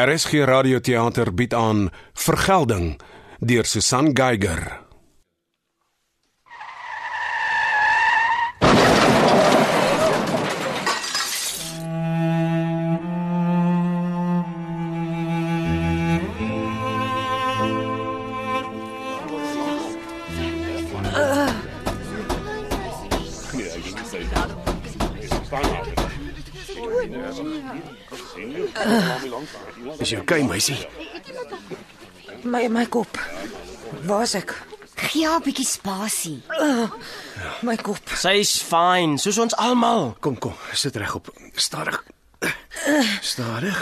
RSG Radioteater bied aan Vergelding deur Susan Geiger. Is jy okay, meisie? My my kop. Waar's ek? Gee haar 'n bietjie spasie. My kop. Sy's fyn, soos ons almal. Kom, kom, sit regop. Stadig. Stadig.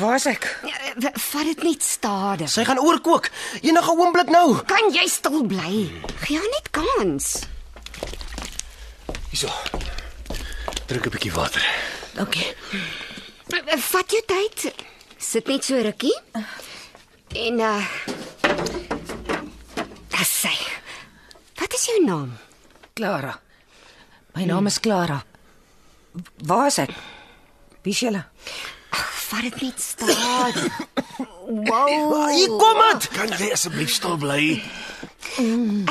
Waar's ek? Ja, w- Vat dit net stadig. Sy gaan oorkook enige oomblik nou. Kan jy stil bly? Gee haar net kans. Hierso. Drink 'n bietjie water. Dankie. W- w- Eh, Vat jou tyd. Sit net so rukkie. En uh Dis sy. Wat is jou naam? Clara. My naam is Clara. Waar's ek? Wie's julle? Vat dit net stadig. Wow. Hier kom dit. Kan jy asseblief stil bly?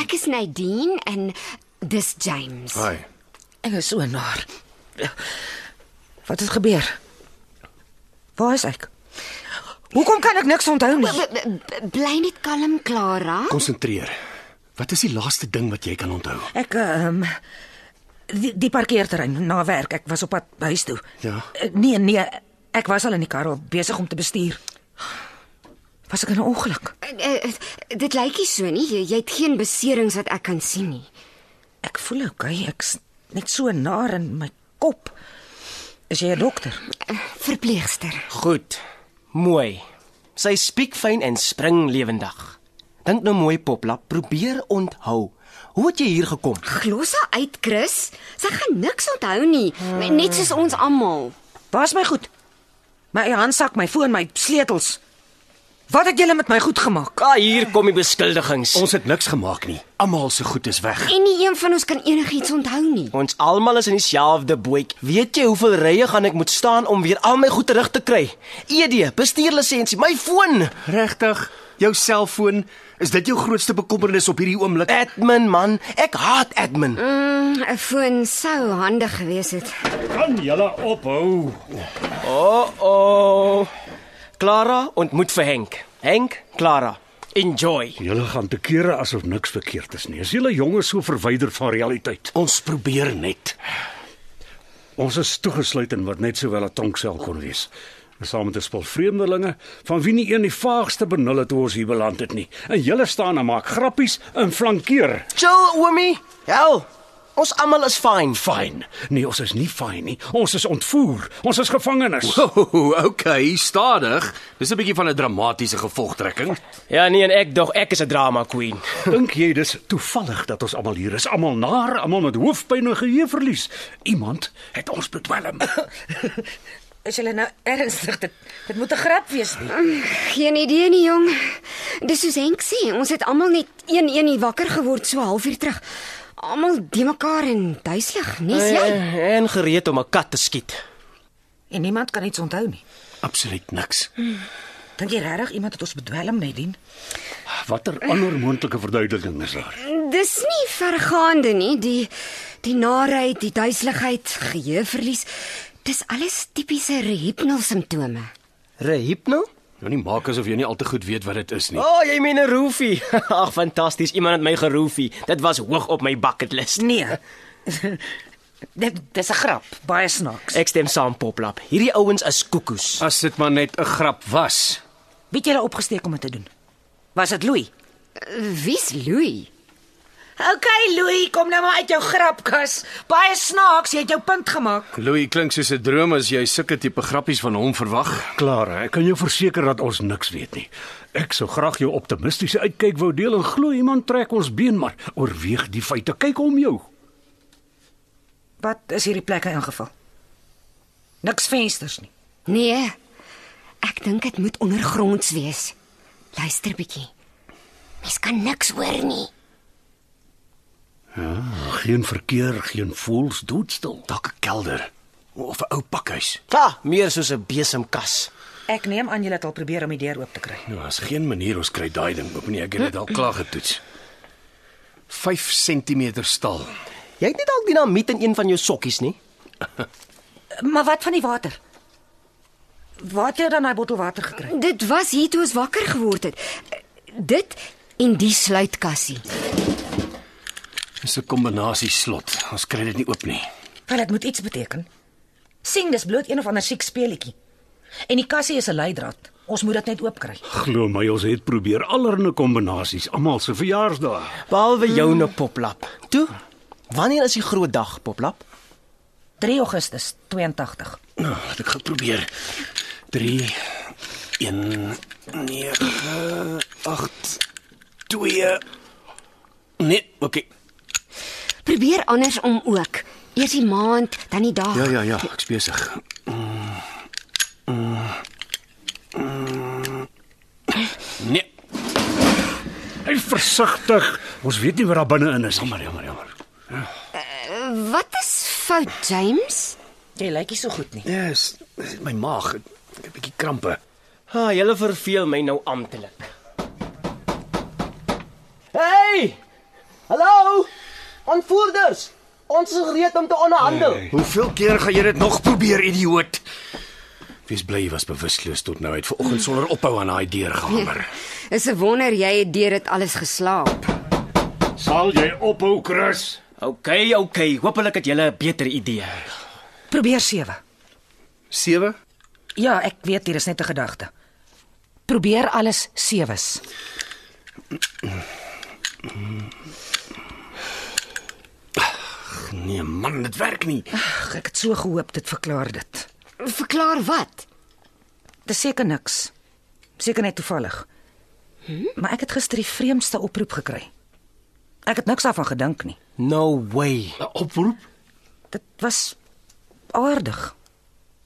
Ek is Nadine en dis James. Hi. Ek is so naar. Wat het gebeur? Waar's ek? Hoekom kan ek niks onthou nie? B- b- b- Bly net kalm, Clara. Konsentreer. Wat is die laaste ding wat jy kan onthou? Ek ehm um, die, die parkeerterrein na werk. Ek was op pad huis toe. Ja. Eh, Nee, nee, ek was al in die kar al besig om te bestuur. Was ek in 'n ongeluk? Eh, eh, Dit lyk nie so nie. Jy, jy het geen beserings wat ek kan sien nie. Ek voel okay, ek's net so naar in my kop. Is jy 'n dokter? Verpleegster. Goed. Mooi. Sy spiek fyn en spring lewendig. Dink nou mooi Poplap, probeer onthou. Hoe het jy hier gekom? Glos haar uit, Chris. Sy gaan niks onthou nie, net soos ons almal. Waar's my goed? My eie handsak, my foon, my sleutels. Wat het julle met my goed gemaak? Ah, hier kom die beskuldigings. Ons, Ons het niks gemaak nie. Almal se goed is weg. En nie een van ons kan enigiets onthou nie. ons almal is in dieselfde boot. Weet jy hoeveel rye gaan ek moet staan om weer al my goed terug te kry? ED, bestuurlisensie, my foon. Regtig? Jou selfoon, is dit jou grootste bekommernis op hierdie oomblik? Admin man, ek haat admin. Mm, 'n Foon sou handig gewees het. Kan julle ophou? Oh oh. Clara ontmoet vir Henk. Henk, Clara. Enjoy. Julle gaan te kere asof niks verkeerd is nie. Is julle jonges so verwyder van realiteit? Ons probeer net. Ons is toegesluit in wat net sowel 'n tonksel kon wees. Ons saam met 'n spul vreemdelinge van wie nie een die vaagste benul het hoe ons hier beland het nie. En julle staan en maak grappies en flankeer. Chill, oomie. Hel. Ons almal is fyn. Fyn. Nee, ons is nie fyn nie. Ons is ontvoer. Ons is gevangenes. Oh, okay, stadig. Dis 'n bietjie van 'n dramatiese gevolgtrekking. Ja nee, en ek dog ek is 'n drama queen. Dink jy dis toevallig dat ons almal hier is, almal naar, almal met hoofpyn en geheueverlies? Iemand het ons bedwelm. Is julle nou ernstig? Dit, dit moet 'n grap wees nie. Geen idee nie, jong. Dis soos Henk sê, ons het almal net een een hier wakker geword so halfuur terug. Almal die mekaar en duiselig, nie jy? Eh, En gereed om 'n kat te skiet. En niemand kan iets onthou nie. Absoluut niks. Dink jy regtig iemand het ons bedwelm net dien? er Watter ander moontlike verduideliking is daar? Dis nie vergaande nie, die die narigheid, die duiseligheid, geheueverlies. Dis alles tipiese hypnosimptome. Rehipno? Nou nie maak asof jy nie al te goed weet wat dit is nie. O, oh, jy meen 'n roofie. Ag, fantasties. Iemand het my geroofie. Dit was hoog op my bucket list. Nee. dit dis 'n grap, baie snaaks. Ek stem saam Poplap. Hierdie ouens is koekoes. As dit maar net 'n grap was. Wie het julle opgesteek om dit te doen? Was dit Louis? Wie's Louis? Okay, Louis, kom nou maar uit jou grapkas. Baie snaaks, jy het jou punt gemaak. Louis klink soos 'n droom as jy sulke tipe grappies van hom verwag. Klara, ek kan jou verseker dat ons niks weet nie. Ek sou graag jou optimistiese uitkyk wou deel en glo iemand trek ons been, maar oorweeg die feite. Kyk om jou. Wat is hierdie plekke ingeval? Niks vensters nie. Nee. Ek dink dit moet ondergronds wees. Luister bietjie. Mens kan niks hoor nie. Geen verkeer, geen voels doodstil. Dalk 'n kelder. of 'n ou pakhuis. Ja, meer soos 'n besemkas. Ek neem aan julle het al probeer om die deur oop te kry. Nou, daar's geen manier ons kry daai ding oop nie. Ek het dit al klaar getoets. 5 cm staal. Jy het nie dalk dinamiet in een van jou sokkies nie? Maar wat van die water? Waar het jy dan daai bottel water gekry? Dit was hier toe ons wakker geword het. Dit en die sluitkassie. Dis 'n kombinasie slot. Ons kry dit nie oop nie. Wel, dit moet iets beteken. Sien, dis bloot een of ander siek speletjie. En die kassie is 'n leidraad. Ons moet dit net oopkry. Glo my, ons het probeer allerlei kombinasies, almal se verjaarsdae. Behalwe joune poplap. Toe. Wanneer is die groot dag, poplap? 3 Augustus 82. Nou, laat ek gou probeer. 3 1 9 8 2 Nee, okay. Probeer andersom ook. Eers die maand, dan die dag. Ja, ja, ja, ek's besig. Mm, mm, mm. Nee, Hy versigtig. Ons weet nie wat daar binne-in is nie. maar jammer, jammer. Wat is fout, James? Jy lyk nie so goed nie. Ja, yes, my maag, ek ek het 'n bietjie krampe. Ha, julle verveel my nou amptelik. Hey! Hallo! Aanvoerders, ons is gereed om te onderhandel. Hey. Hoeveel keer gaan jy dit nog probeer, idioot? Wees bly jy was bewusteloos tot nou uit vanoggend sonder ophou aan daai deur gehamer. Is 'n wonder jy het deur dit alles geslaap. Sal jy ophou, Chris? Okay, okay. Hoopelik het julle 'n beter idee. Probeer 7. 7 Ja, ek weet hier is net 'n gedagte. Probeer alles 7s. Nee man, dit werk nie. Ag, ek het so gehoop dit verklaar dit. Verklaar wat? Dis seker niks. Seker net toevallig. Maar ek het gister die vreemdste oproep gekry. Ek het niks daarvan gedink nie. No way. 'n Oproep? Dit was aardig.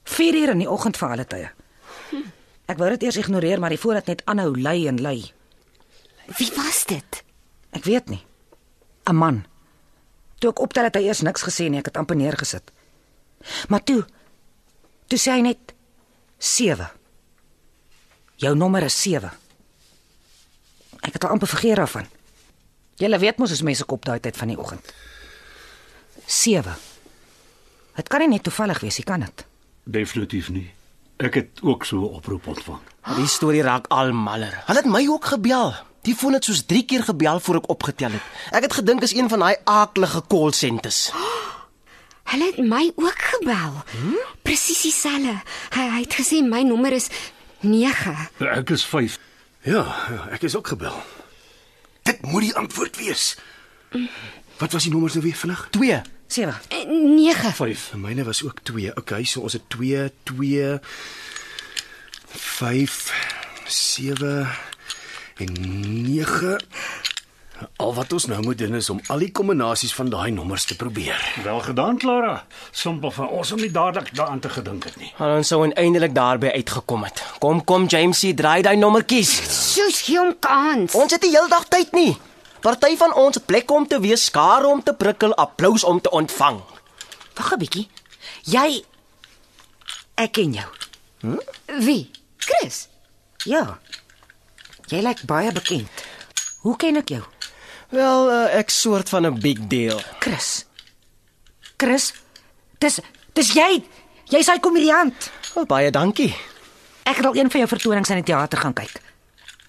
4 uur in die oggend vir alle tye. Ek wou dit eers ignoreer, maar die voorraad net aanhou lei en lei. Wie was dit? Ek weet nie. 'n Man. Toe ek optel het hy eers niks gesê nie, ek het amper neergesit. Maar toe toe sê hy net 7. Jou nommer is 7. Ek het al amper vergeet daarvan. Jy weet mos ons mense kop daai tyd van die oggend. 7. Dit kan nie net toevallig wees, jy kan dit. Definitief nie. Ek het ook so 'n oproep ontvang. Die storie raak al maller. Hulle het my ook gebel. Die foon het soos 3 keer gebel voor ek opgetel het. Ek het gedink is een van daai aaklige call centers. Hulle het my ook gebel. Presies dieselfde. Hy, hy het gesê my nommer is 9. Ek is 5. Ja, ja, ek is ook gebel. Dit moet die antwoord wees. Wat was die nommers nou weer vinnig? 2. 7. 9. 5. Myne was ook 2. Okay, so ons het 2 2 5 7 en 9. Al wat ons nou moet doen is om al die kombinasies van daai nommers te probeer. Wel gedaan, Clara. Simpel van ons om nie dadelik daaraan te gedink het nie. En ons sou uiteindelik daarby uitgekom het. Kom, kom Jamesie, draai daai nommertjies. Soos gee hom kans. Ons het die heeldag tyd nie. Party van ons het plek om te wees, skare om te prikkel, applous om te ontvang. Wag 'n bietjie. Jy ek ken jou. Wie? Chris. Ja. Jy lyk baie bekend. Hoe ken ek jou? Wel, uh, ek soort van 'n big deal. Chris. Chris, dis dis jy. Jy's daai komediant. Oh, baie dankie. Ek het al een van jou vertonings in die teater gaan kyk.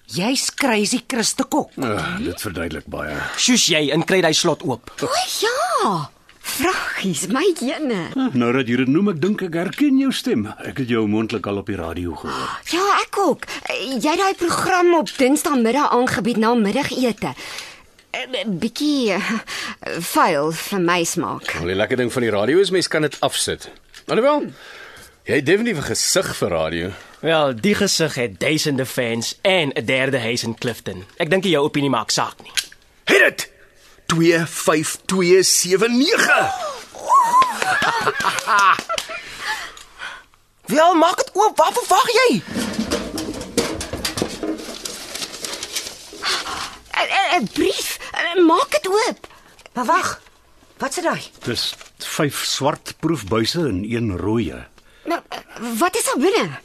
Jy's crazy Chris te Kok. Uh, dit verduidelik baie. Soos jy en kry daai slot oop. O ja. Vragies, my jene. Nou dat jy dit noem, ek dink ek herken jou stem. Ek het jou mondelik al op die radio gehoor. Ja, ek ook. Eh, Jy het daai program op Dinsdagmiddag aangebied na middagete. Eh, Bietjie eh, vuil vir my smaak. Eh, Wel, die lekker ding van die radio is mens kan dit afsit. Alhoewel, jy het definitief 'n gesig vir radio. Wel, die gesig het duisende fans en 'n derde huis in Clifton. Ek dink jou opinie maak saak nie. Het dit. 25279. Wel, maak dit oop. Wat verwag jy? Eh, eh, 'n Brief. Eh, Maak dit oop. Maar wag. Wat sê daai? Dis vyf swart proefbuise en een rooie. Maar Nou, wat is daar binne?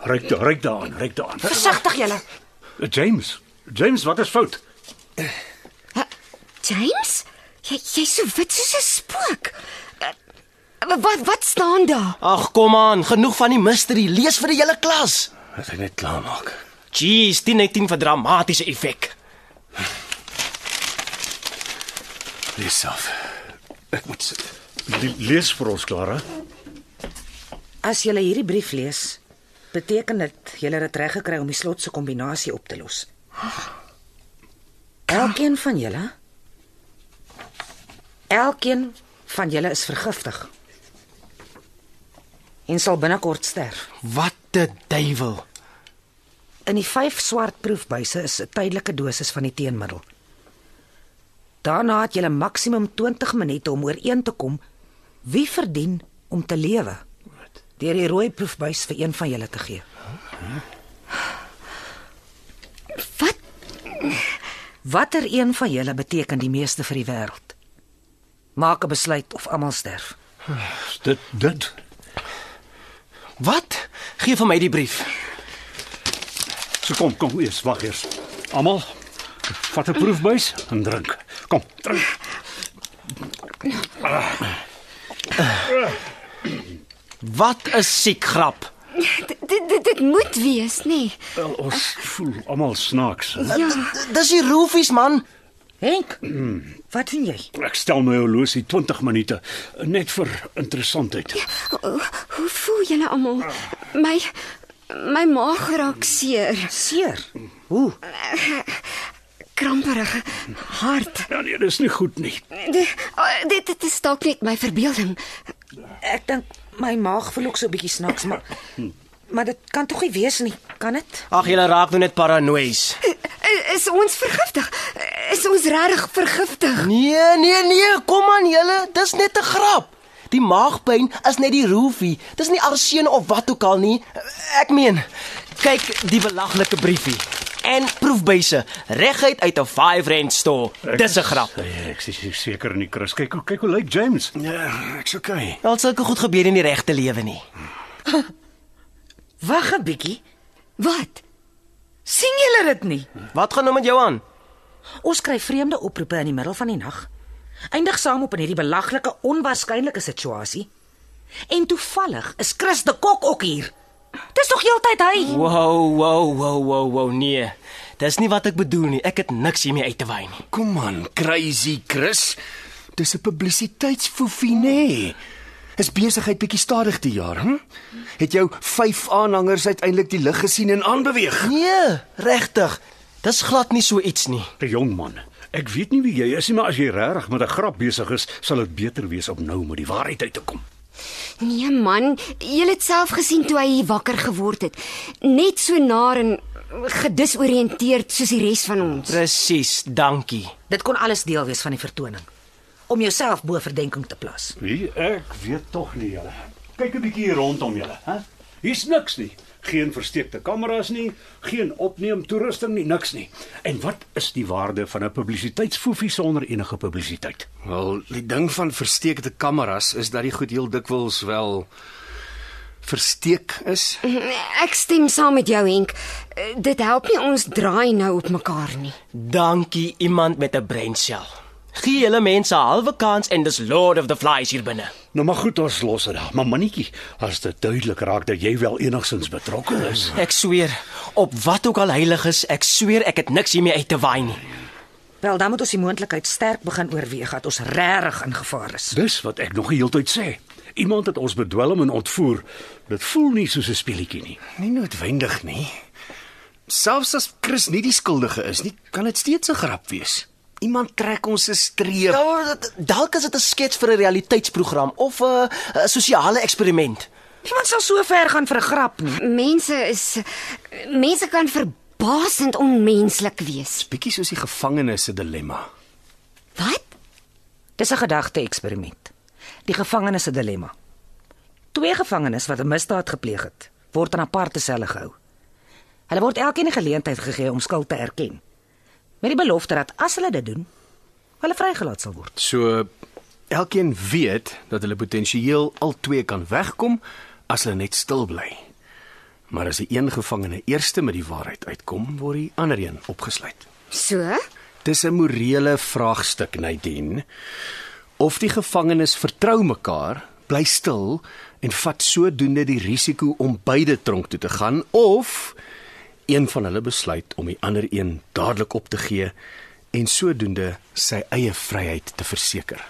Ryk, da- ryk daaraan, ryk daaraan. Eh, Versigtig julle. James, James, wat is fout? James? Jy jy's so wit soos 'n spook. Eh, Wat wat staan daar? Ag, kom aan, genoeg van die mystery. Lees vir die hele klas. Laat hy net klaar maak. Jeez, 10 uit 10 vir dramatiese effek. Lees af. Ek moet sit. Le lees vir ons, Clara. As jy hierdie brief lees, beteken dit jy het dit reg gekry om die slot se kombinasie op te los. Elkeen van julle Elkeen van julle is vergiftig. En sal binnekort sterf. Wat 'n duiwel. In die vyf swart proefbuise is 'n tydelike dosis van die teenmiddel. Daarna het julle maksimum 20 minute om ooreen te kom wie verdien om te lewe. Deur die rooi proefbuis vir een van julle te gee. Wat? Watter een van julle beteken die meeste vir die wêreld? Maak 'n besluit of almal sterf. Dit dit Wat? Gee vir my die brief. So kom, kom eers, wag eers. Almal vat 'n proefbuis en drink. Kom, drink. Wat 'n siek grap. Dit dit dit moet wees, nê? Nee. Wel, ons voel almal snaaks. Eh, D- Dis die roofies man. Henk, wat doen jy? Ek stel my horlosie 20 minute eh, net vir interessantheid. Hoe, hoe voel julle almal? My my maag raak seer, Seer. Hoe? kramperig, hard. Ja nee, dis nie goed nie. Dit dit, dit is dalk net my verbeelding. Ek dink my maag voel ook so 'n bietjie snaaks, maar maar dit kan tog nie wees nie, kan dit? Ag, julle raak nou net paranoïes. Eh, Is ons vergiftig? Is ons regtig vergiftig? Nee, nee, nee, kom aan julle, dis net 'n grap. Die maagpyn is net die roofie. Dis nie arseen of wat ook al nie. Ek meen, kyk die belaglike briefie en proefbuise reguit uit 'n 5 rand store. Dis 'n grap. Nee, Ek is nie seker nie, Chris. Kyk hoe kyk hoe lyk James. Ja, ek's okay. Al sulke goed gebeur in die regte lewe nie. Wag 'n bietjie. Wat? sien julle dit nie? Wat gaan nou met jou aan? Ons kry vreemde oproepe in die middel van die nag. Eindig saam op in hierdie belaglike, onwaarskynlike situasie. En toevallig is Chris de Kok ook hier. Dis tog heeltyd hy. Wow, wow, wow, wow, wow, nee. Dis nie wat ek bedoel nie. Ek het niks hiermee uit te wy nie. Kom aan, crazy Chris. Dis 'n publisiteitsfoefie nê. Is besigheid bietjie stadig die jaar, hm? Het jou 5 aanhangers uiteindelik die lig gesien en aanbeweeg? Nee, regtig. Dis glad nie so iets nie. 'n Jong man. Ek weet nie wie jy is nie, maar as jy regtig met 'n grap besig is, sal dit beter wees om nou met die waarheid uit te kom. Nee man, jy het self gesien toe hy hier wakker geword het. Net so nar en gedisoriënteerd soos die res van ons. Presies, dankie. Dit kon alles deel wees van die vertoning. Om jouself bo verdenking te plaas. Wie? Ek weet tog nie, julle. Kyk 'n bietjie hier rondom julle, hè? Hier's niks nie. Geen versteekte kameras nie, geen opneem toerusting nie, niks nie. En wat is die waarde van 'n publisiteitsfoefie sonder enige publisiteit? Wel, die ding van versteekte kameras is dat die goed heel dikwels wel versteek is. Ek stem saam met jou Henk. Eh, Dit help nie ons draai nou op mekaar nie. Dankie iemand met 'n breinsel. Gee julle mense 'n halwe kans en dis Lord of the Flies hier binne. Nou maar goed, ons los dit daar. Maar mannetjie, as dit duidelik raak dat jy wel enigstens betrokke is. Ek sweer op wat ook al heilig is, ek sweer ek het niks hiermee uit te waai nie. Wel, dan moet ons die moontlikheid sterk begin oorweeg dat ons regtig in gevaar is. Dis wat ek nog die hele tyd sê. Iemand het ons bedwelm en ontvoer. Dit voel nie soos 'n speletjie nie. Nie noodwendig nie. Selfs as Chris nie die skuldige is nie, kan dit steeds 'n grap wees. Iemand trek ons 'n streep. Nou, dat- dalk is dit 'n skets vir 'n realiteitsprogram of 'n 'n sosiale eksperiment. Niemand sal so ver gaan vir 'n grap nie. Mense is mense kan verbasend onmenslik wees. Bietjie soos die gevangenes se dilemma. Wat? Dis 'n gedagte-eksperiment. Die gevangenes se dilemma. Twee gevangenes wat 'n misdaad gepleeg het, word in aparte selle gehou. Hulle word elkeen 'n geleentheid gegee om skuld te erken. Met die belofte dat as hulle dit doen, hulle vrygelaat sal word. So Elkeen weet dat hulle potensieel al twee kan wegkom as hulle net stil bly. Maar as die een gevangene eerste met die waarheid uitkom, word die ander een opgesluit. So? Dis 'n morele vraagstuk, Nadine. Of die gevangenes vertrou mekaar, bly stil en vat sodoende die risiko om beide tronk toe te gaan of een van hulle besluit om die ander een dadelik op te gee en sodoende sy eie vryheid te verseker.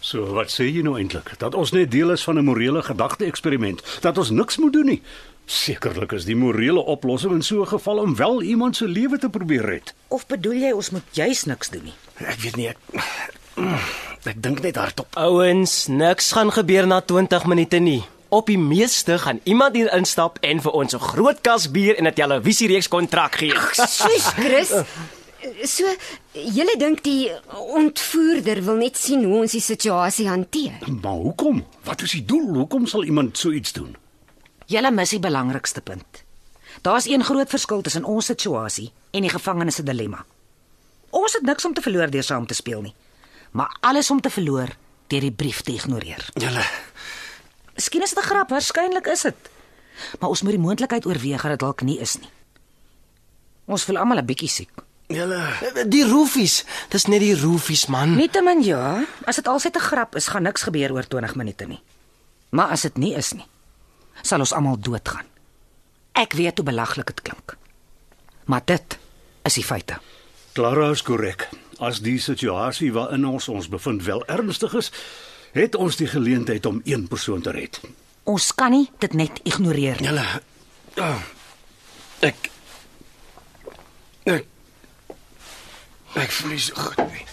So wat sê jy nou eintlik? Dat ons net deel is van 'n morele gedagte-eksperiment, dat ons niks moet doen nie. Sekerlik is die morele oplossing in so 'n geval om wel iemand se lewe te probeer red. Of bedoel jy ons moet juis niks doen nie? Ek weet nie ek ek dink net hardop. Ouens, niks gaan gebeur na 20 minute nie. Op die meeste gaan iemand hier instap en vir ons 'n groot kas bier en 'n televisiereeks kontrak gee. Sus, Chris. So, julle dink die ontvoerder wil net sien hoe ons die situasie hanteer. Maar hoekom? Wat is die doel? Hoekom sal iemand so iets doen? Julle mis die belangrikste punt. Daar's een groot verskil tussen ons situasie en die gevangenes se dilemma. Ons het niks om te verloor deur saam te speel nie, maar alles om te verloor deur die brief te ignoreer. Julle Miskien is dit 'n grap, waarskynlik is dit. Maar ons moet die moontlikheid oorweeg dat dit dalk nie is nie. Ons voel almal 'n bietjie siek. julle Die roofies, dis net die roofies man. Nietemin ja, as dit alsite 'n grap is, gaan niks gebeur oor 20 minute nie. Maar as dit nie is nie, sal ons almal doodgaan. Ek weet hoe belaglik dit klink. Maar dit is die feite. Clara is korrek. As die situasie waarin ons ons bevind wel ernstig is, het ons die geleentheid om een persoon te red. Ons kan nie dit net ignoreer nie. julle oh, ek ek ek voel nie so goed nie.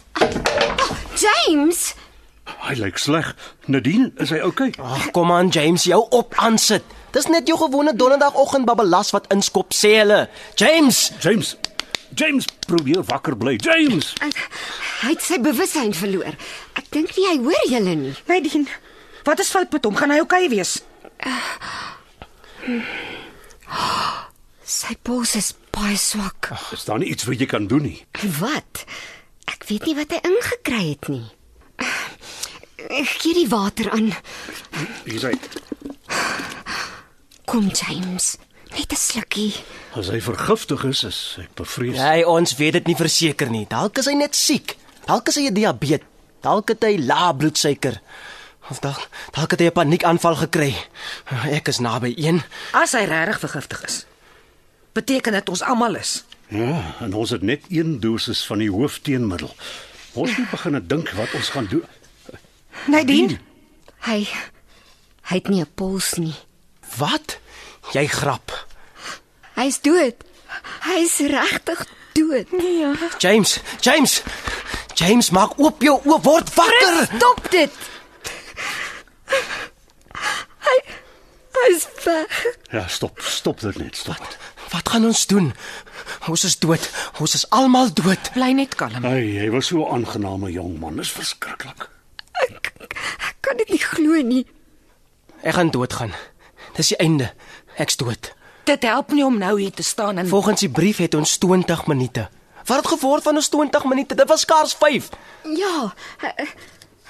James, Hy lyk sleg. Nadine, is hy oukei? Okay? Ag, kom aan James, jou op aansit. Dis net jou gewone donderdagoggend babbelas wat inskop sê hulle. James, James. James probeer wakker bly. James. hy het sy bewussyn verloor. Ek dink nie hy hoor julle nie. Nadine, wat is fout met hom? Gaan hy oukei okay wees? Sy pols is baie swak. Is daar nie iets wat jy kan doen nie? Wat? Ek weet nie wat hy ingekry het nie. Ek gee die water aan. Hier is hy. Kom James, net 'n slukkie. As hy vergiftig is, is ek bevrees. Ja. Jy ons weet dit nie verseker nie. Dalk is hy net siek. Dalk is hy 'n diabeet. Dalk het hy lae bloedsuiker. Of dalk dalk het hy 'n paniekaanval gekry. Ek is naby 1. As hy regtig vergiftig is, beteken dit ons almal is. ja, en ons het net een dosis van die hoofteenmiddel. Ons moet begin dink wat ons gaan doen. Nadine, Hy hy het nie 'n pols nie. Wat? Jy grap. Hy's dood. Hy's regtig dood. Nee, ja. James, James. James, maak oop jou oë, word wakker. Stop dit. Hy hy's weg. Ja, stop, stop dit net, stop. Wat gaan ons doen? Ons is dood. Ons is almal dood. bly net kalm. Ai, hy was so 'n aangename jong man. Dis verskriklik. Ek, ek kan dit nie glo nie. Ek gaan doodgaan. Dis die einde. Ek's dood. Dit help nie om nou hier te staan en Volgens die brief het ons 20 minute. Wat het geword van ons 20 minute? Dit was skaars 5. Ja, hy,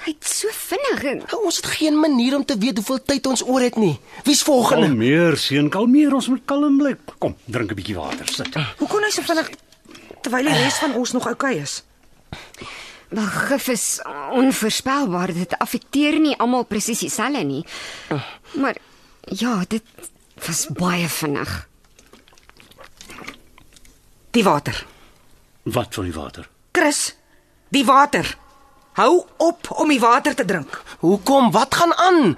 hy't so vinnig. en- Nou, Ons het geen manier om te weet hoeveel tyd ons oor het nie. Wie's volgende? Kalmeer, seun, kalmeer. Ons moet kalm bly. Kom, drink 'n bietjie water, sit. hoe kon hy so vinnig terwyl die res van ons nog oukei okay is? Wel gif is onvoorspelbaar. Dit affekteer nie almal presies dieselfde nie. Maar ja, dit was baie vinnig. Die water. Wat van die water? Chris, die water. Hou op om die water te drink. Hoekom? Wat gaan aan?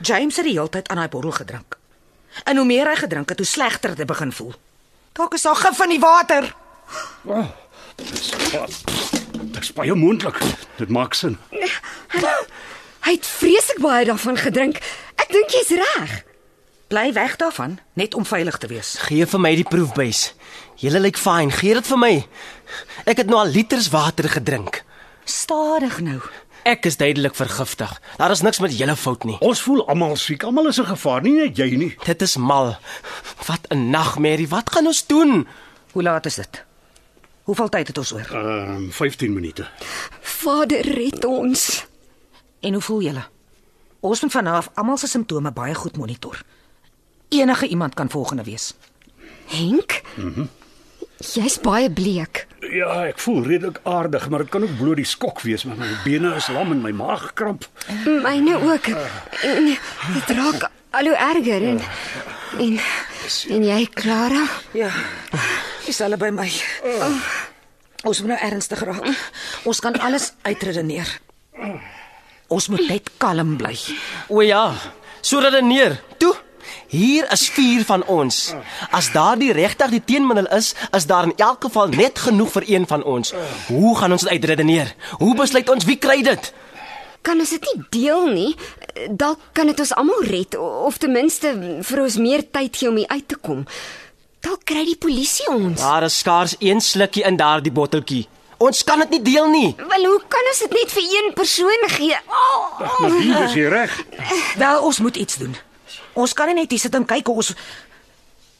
James het die hele tyd aan daai bottel gedrink. En hoe meer hy gedrink het, hoe slegter dit begin voel. Dalk is daar gif in die water. Dit is baie moontlik. Dit maak sin. Hy het vreeslik baie daarvan gedrink. Ek dink jy's reg. Bly weg daarvan, net om veilig te wees. Gee vir my die proefbuis. Julle lyk fyn. Gee dit vir my. Ek het nou al liters water gedrink. Stadig nou. Ek is duidelik vergiftig. Daar is niks met julle fout nie. Ons voel almal siek. Almal is in gevaar, nie net jy nie. Dit is mal. Wat 'n nagmerrie. Wat gaan ons doen? Hoe laat is dit? Hoeveel tyd het ons oor? Ehm um, 15 minute. Vader red ons. En hoe voel julle? Ons moet vanaf almal se simptome baie goed monitor. Enige iemand kan volgende wees. Henk? Mhm. Jy's baie bleek. Ja, ek voel redelik aardig, maar dit kan ook bloot die skok wees, maar my bene is lam en my maag kramp. Myne ook. En Dit raak al hoe erger en en en jy Clara? Ja. Dis hulle by my. Ons moet nou ernstig raak. Ons kan alles uitredeneer. Ons moet net kalm bly. O ja, so redeneer. Toe, hier is vier van ons. As daardie regtig die teenmiddel is, is daar in elk geval net genoeg vir een van ons. Hoe gaan ons dit uitredeneer? Hoe besluit ons wie kry dit? Kan ons dit nie deel nie? Dalk kan dit ons almal red o- of ten minste vir ons meer tyd gee om hier uit te kom. Dalk kry die polisie ons. Daar is skaars een slukkie in daardie botteltjie. Ons kan dit nie deel nie. Wel, hoe kan ons dit net vir een persoon gee? Oh, Maar hier is jy reg. Wel, ons moet iets doen. Ons kan nie net hier sit en kyk hoe ons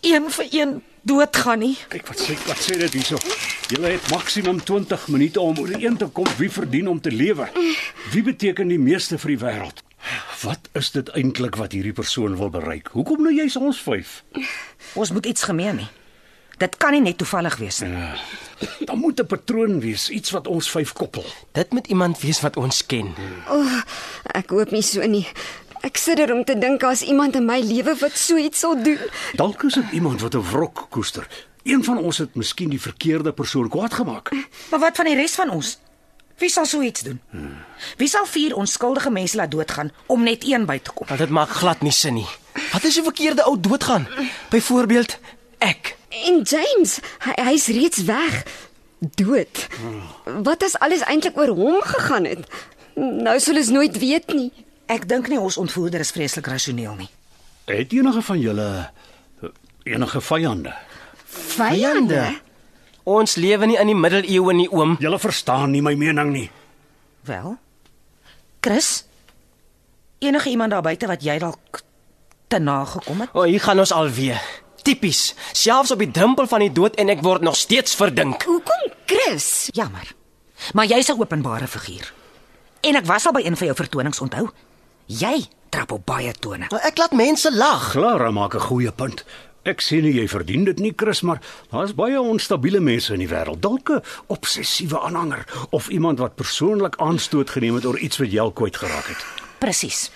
een vir een doodgaan nie. Kyk wat sê wat sê dit hierso. Julle het maksimum 20 minute om ooreen te kom wie verdien om te lewe. Wie beteken die meeste vir die wêreld? Wat is dit eintlik wat hierdie persoon wil bereik? Hoekom nou jy's ons vyf? Ons moet iets gemeen hê. Dit kan nie net toevallig wees nie. Daar moet 'n patroon wees, iets wat ons vyf koppel. Dit moet iemand wees wat ons ken. oh, ek hoop nie so nie. Ek sidder om te dink daar's iemand in my lewe wat so iets sal doen. Dalk is dit iemand wat 'n wrok koester. Een van ons het miskien die verkeerde persoon kwaad gemaak. Maar wat van die res van ons? Wie sal so iets doen? Wie sal vier onskuldige mense laat doodgaan om net een by te kom? Want dit maak glad nie sin nie. Wat as 'n verkeerde ou doodgaan? Byvoorbeeld ek. En James, hy hy's reeds weg. Dood. Wat as alles eintlik oor hom gegaan het? Nou sal ons nooit weet nie. Ek dink nie ons ontvoerder is vreeslik rasioneel nie. Het enige van julle enige vyande? Vyande. Ons lewe nie in die middeleeue nie, oom. Julle verstaan nie my mening nie. Wel? Chris? Enige iemand daar buite wat jy dalk te na gekom het? O, hier gaan ons alweer. Tipies. Selfs op die drempel van die dood en ek word nog steeds verdink. Hoekom Chris? Jammer. Maar jy's 'n openbare figuur. En ek was al by een van jou vertonings onthou. Jy trap op baie tone. Maar Nou, ek laat mense lag. Clara maak 'n goeie punt. Ek sê nie jy verdien dit nie, Chris, maar daar's baie onstabiele mense in die wêreld. Dalk 'n obsessiewe aanhanger of iemand wat persoonlik aanstoot geneem het oor iets wat jy al kwyt geraak het. Presies.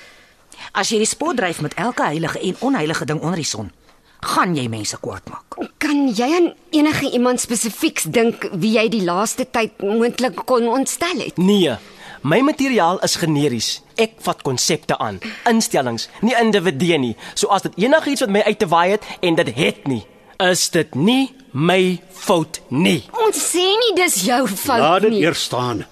As jy die spot dryf met elke heilige en onheilige ding onder die son, gaan jy mense kwaad maak. Kan jy aan enige iemand spesifieks dink wie jy die laaste tyd moontlik kon ontstel het? Nee. My materiaal is generies. Ek vat konsepte aan, instellings, nie individue nie. So as dit enigiets wat my uit te waai het en dit het nie, is dit nie my fout nie. Ons sê nie dis jou Laat fout dit nie. eers staan.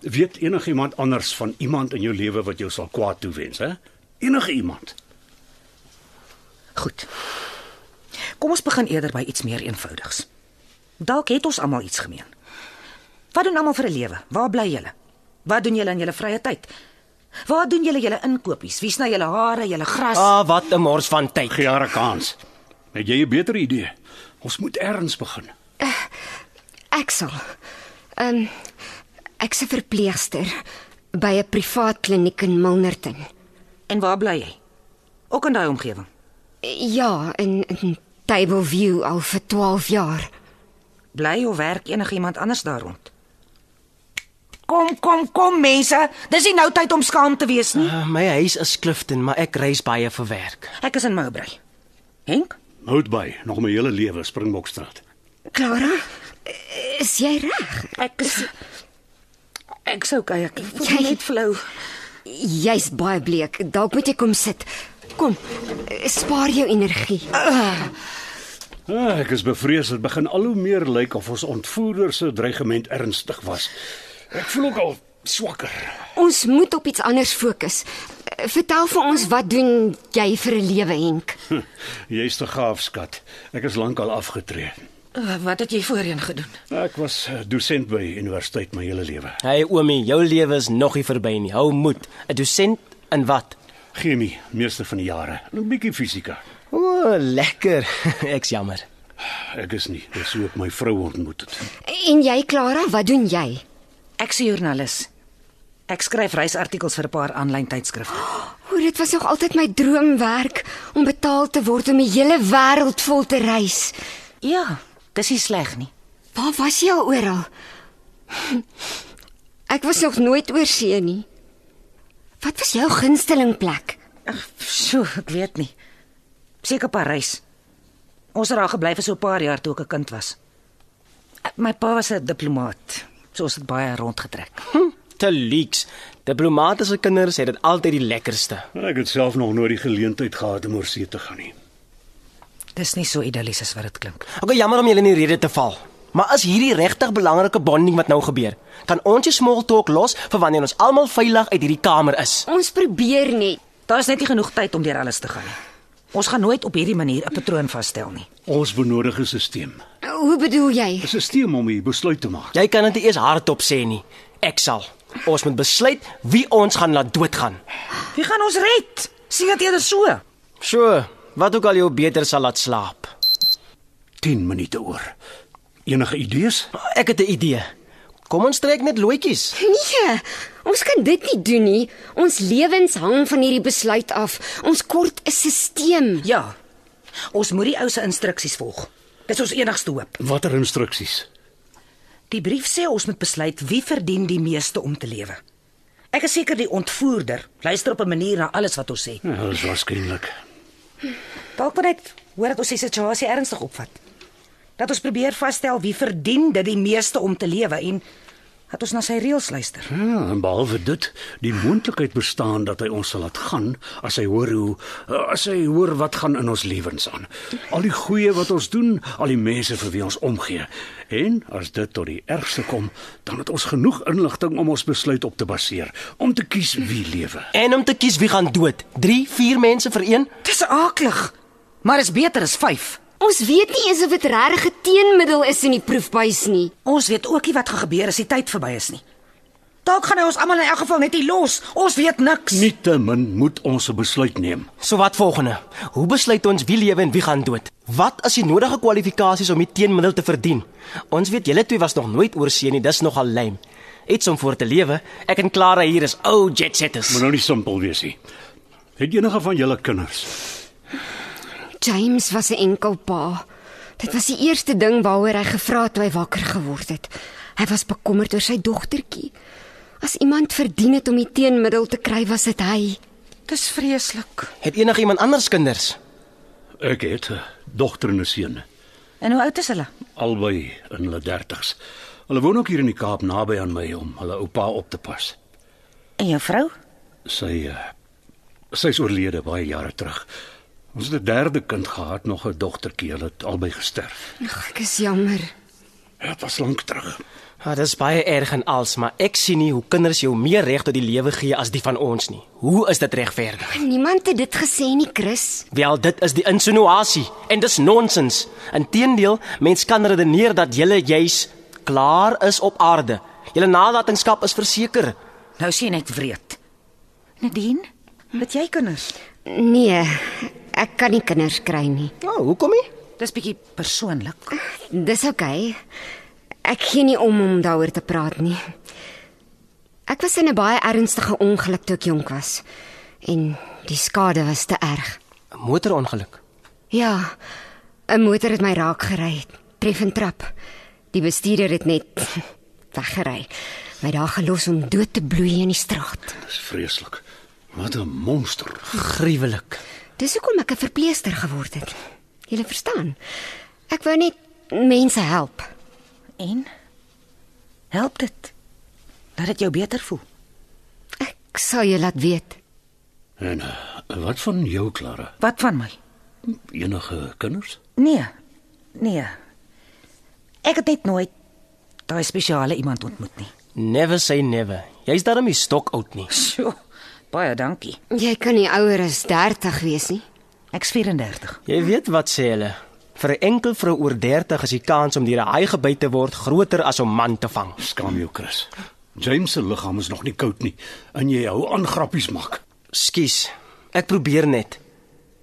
Weet enigiemand anders van iemand in jou lewe wat jou sal kwaad toewens, hè? Enige iemand. Goed. Kom ons begin eerder by iets meer eenvoudigs. Dalk het ons almal iets gemeen. Wat doen almal vir 'n lewe? Waar bly julle? Wat doen julle in julle vrye tyd? Waar doen julle julle inkopies? Wie sny julle hare, julle gras? Ah, wat 'n mors van tyd. Gee haar 'n kans. Het jy 'n beter idee? Ons moet ergens begin. Ek sal. Ehm um, ek's 'n verpleegster by 'n privaat kliniek in Milnerton. En waar bly jy? Ook in daai omgewing. Ja, in, in Tableview al vir 12 jaar. Bly of werk enigiemand anders daar rond? Kom, kom, kom mense, dis nie nou tyd om skaam te wees nie. Uh, my huis is Clifton, maar ek reis baie vir werk. Ek is in Mowbray. Henk? Hout by, nog my hele lewe Springbokstraat. Clara, is jy reg? Ek is Ek's okay, ek voel Jy- net flou. Jy's baie bleek. Dalk moet jy kom sit. Kom, spaar jou energie. Uh, Ah, ek is bevrees dit begin al hoe meer lyk of ons ontvoerder se dreigement ernstig was. Ek voel ook al swakker. Ons moet op iets anders fokus. Uh, Vertel vir ons wat doen jy vir 'n lewe, Henk? Hm, Jy's te gaaf, skat. Ek is lankal afgetree. Uh, Wat het jy voorheen gedoen? Ek was eh, dosent by universiteit my hele lewe. Hey oomie, jou lewe is nog nie verby nie. Hou moed. 'n Dosent in wat? Chemie, meeste van die jare. 'n Bietjie fisika. O, oh, lekker. Ek's jammer. Ek is nie, dis hoe ek my vrou ontmoet het. En jy, Clara, wat doen jy? Ek's 'n joernalis. Ek skryf reisartikels vir 'n paar aanlyn tydskrifte. O, dit was nog altyd my droomwerk om betaal te word om die hele wêreld vol te reis. Ja, dis nie sleg nie. Waar was jy al oral? Ek was nog nooit oor see nie. Wat was jou gunsteling plek? Sjoe, ek weet nie. Seker Parys. Ons het daar gebly vir so 'n paar jaar toe ek 'n kind was. My pa was 'n diplomaat. So ons het baie rondgetrek. Te leaks. Diplomate se kinders het dit altyd die lekkerste. Ek het self nog nooit die geleentheid gehad om oor see te gaan nie. Dis nie so idillies as wat dit klink. Okay, jammer om julle in die rede te val. Maar as hierdie regtig belangrike bonding wat nou gebeur, kan ons die small talk los vir wanneer ons almal veilig uit hierdie kamer is. Ons probeer net. Daar's net nie genoeg tyd om deur alles te gaan nie. Ons gaan nooit op hierdie manier 'n patroon vasstel nie. Ons benodig 'n stelsel. Hoe bedoel jy? 'n Stelsel om 'n besluit te maak. Jy kan dit nie eers hardop sê nie. Ek sal. Ons moet besluit wie ons gaan laat doodgaan. Wie gaan ons red? Sien dit eerder so. So, wat ook al jou beter sal laat slaap. 10 minute oor. Enige idees? Ek het 'n idee. Kom ons trek net loetjies. Nee, ons kan dit nie doen nie. Ons lewens hang van hierdie besluit af. Ons kort 'n stelsel. Ja. Ons moet die ou se instruksies volg. Dis ons enigste hoop. Watter instruksies? Die brief sê ons moet besluit wie verdien die meeste om te lewe. Ek is seker die ontvoerder luister op 'n manier na alles wat ons sê. Ja, Dit is waarskynlik. Dalk moet net hoor dat ons die situasie ernstig opvat. Dat ons probeer vasstel wie verdien dit die meeste om te lewe en dat ons na sy reëls luister. Hm? Ja, en behalwe dit, die moontlikheid bestaan dat hy ons sal laat gaan as hy hoor hoe as hy hoor wat gaan in ons lewens aan. Al die goeie wat ons doen, al die mense vir wie ons omgee. En as dit tot die ergste kom, dan het ons genoeg inligting om ons besluit op te baseer, om te kies wie lewe. En om te kies wie gaan dood. 3, 4 mense vir een. Dis aaklig, maar is beter as 5. Ons weet nie eens of dit regtig 'n teenmiddel is in die proefbuis nie. Ons weet ook nie wat gaan gebeur as die tyd verby is nie. Dalk gaan hy ons almal in elk geval net hier los. Ons weet niks. Nietemin moet ons 'n besluit neem. So wat volgende? Hoe besluit ons wie lewe en wie gaan dood? Wat is die nodige kwalifikasies om die teenmiddel te verdien? Ons weet julle twee was nog nooit oor see nie, dis nogal lame. Iets om voor te lewe. Ek en Clara hier is ou jet setters. Moet nou nie simpel wees nie. Het enige van julle kinders? James was 'n enkel pa. Dit was die eerste ding waaroor hy gevra het toe hy wakker geword het. Hy was bekommerd oor sy dogtertjie. As iemand verdien het om die teenmiddel te kry, was dit hy. Dis vreeslik. Het enige iemand anders kinders? Ek het 'n dogter en 'n seun. En hoe oud is hulle? albei in hulle 30's. Hulle woon ook hier in die Kaap naby aan my om hulle oupa op te pas. En jou vrou? Sy eh, sy is oorlede baie jare terug. Ons het 'n derde kind gehad, nog 'n dogtertjie, hulle het albei gesterf. Ag, ek is jammer. Ja, Dit was lank terug. Ja, dis baie erg en als, maar ek sien nie hoe kinders jou meer reg tot die lewe gee as die van ons nie. Hoe is dit regverdig? Niemand het dit gesê nie, Chris. Wel, dit is die insinuasie en dis nonsens. Inteendeel, mens kan redeneer dat jy juis klaar is op aarde. Jou nalatenskap is verseker. Nou sien ek wreed. Nadine, wat jy kinders? Nee, ek kan nie kinders kry nie. Nou, oh, hoekom nie? Dis bietjie persoonlik. Dis oukei. Okay. Ek gee nie om om daaroor te praat nie. Ek was in 'n baie ernstige ongeluk toe ek jonk was en die skade was te erg. 'n Motorongeluk. Ja. 'n Motor het my raak gery, tref en trap. Die bestuurder het net weggery. My daar gelos om dood te bloei in die straat. Dis vreeslik. Wat 'n monster. Gruwelik. Dis hoekom ek 'n verpleegster geword het. Jy verstaan. Ek wou net mense help. En help dit dat dit jou beter voel. Ek sal jou laat weet. En eh, wat van jou, Clara? Wat van my? Enige kinders? Nee. Nee. Ek het net nooit daai spesiale iemand ontmoet nie. Never say never. Jy's darem nie stok oud nie. Sjoe. Baie dankie. Jy kan nie ouer as 30 wees nie. Ek's 34. Jy weet wat sê hulle? Vir 'n enkel vrou oor 30 is die kans om deur 'n haai gebyt te word groter as om man te vang. Skaam jou, Chris. James se liggaam is nog nie koud nie en jy hou aan grappies maak. Skus. Ek probeer net.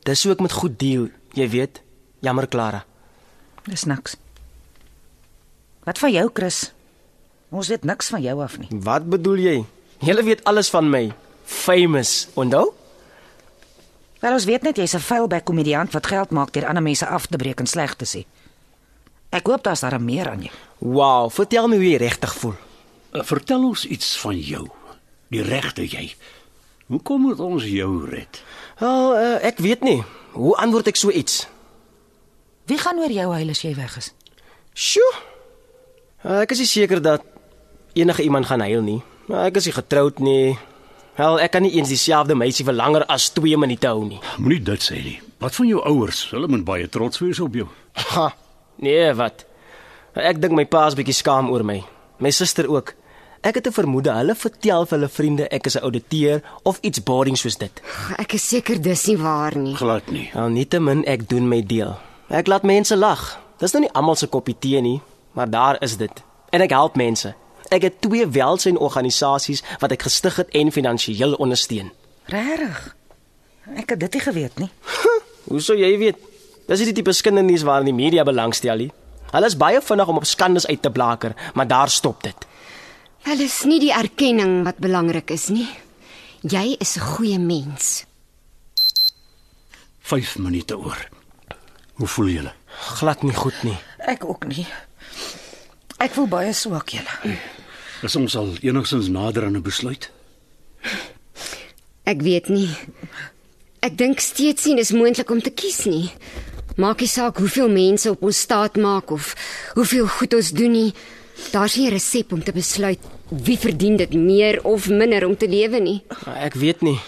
Dis hoe ek met goed deel, jy weet. Jammer Clara. Dis niks. Wat van jou, Chris? Ons weet niks van jou af nie. Wat bedoel jy? Julle weet alles van my. Famous, onthou? Wel ons weet net jy's 'n vuilbek komediant wat geld maak deur ander mense af te breek en sleg te sê. Ek hoop daar's daar meer aan jou. Wow, vertel my hoe jy regtig voel. Uh, Vertel ons iets van jou. Die regte jy. Hoekom moet ons jou red? Wel, uh, ek weet nie. Hoe antwoord ek so iets? Wie gaan oor jou huil as jy weg is? Sjoe. Uh, ek is nie seker dat enige iemand gaan huil nie. Uh, ek is nie getroud nie. Wel, ek kan nie eens dieselfde meisie vir langer as 2 minute hou nie. Moenie dit sê nie. Wat van jou ouers? Hulle moet baie trots wees op jou. Ha. Nee, wat? Ek dink my pa's bietjie skaam oor my. My suster ook. Ek het 'n vermoede hulle vertel vir hulle vriende ek is 'n ouditeur of iets boring soos dit. Ek is seker dis nie waar nie. Glad nie. Al nietemin ek doen my deel. Ek laat mense lag. Dis nou nie almal se koppie tee nie, maar daar is dit. En ek help mense. Ek het twee welsynorganisasies wat ek gestig het en finansiëel ondersteun. Regtig? Ek het dit nie geweet nie. Hoe sou jy weet? Dis nie die tipe skindernuus waaraan die media belangstel nie. Hulle is baie vinnig om op skandes uit te blaker, maar daar stop dit. Wel is nie die erkenning wat belangrik is nie. Jy is 'n goeie mens. 5 minute oor. Hoe voel julle? Glad nie goed nie. Ek ook nie. Ek voel baie swak, julle. Is ons al enigstens nader aan 'n besluit? Ek weet nie. Ek dink steeds nie dis moontlik om te kies nie. Maak nie saak hoeveel mense op ons staat maak of hoeveel goed ons doen nie. Daar's nie 'n resep om te besluit wie verdien dit meer of minder om te lewe nie. Ek weet nie.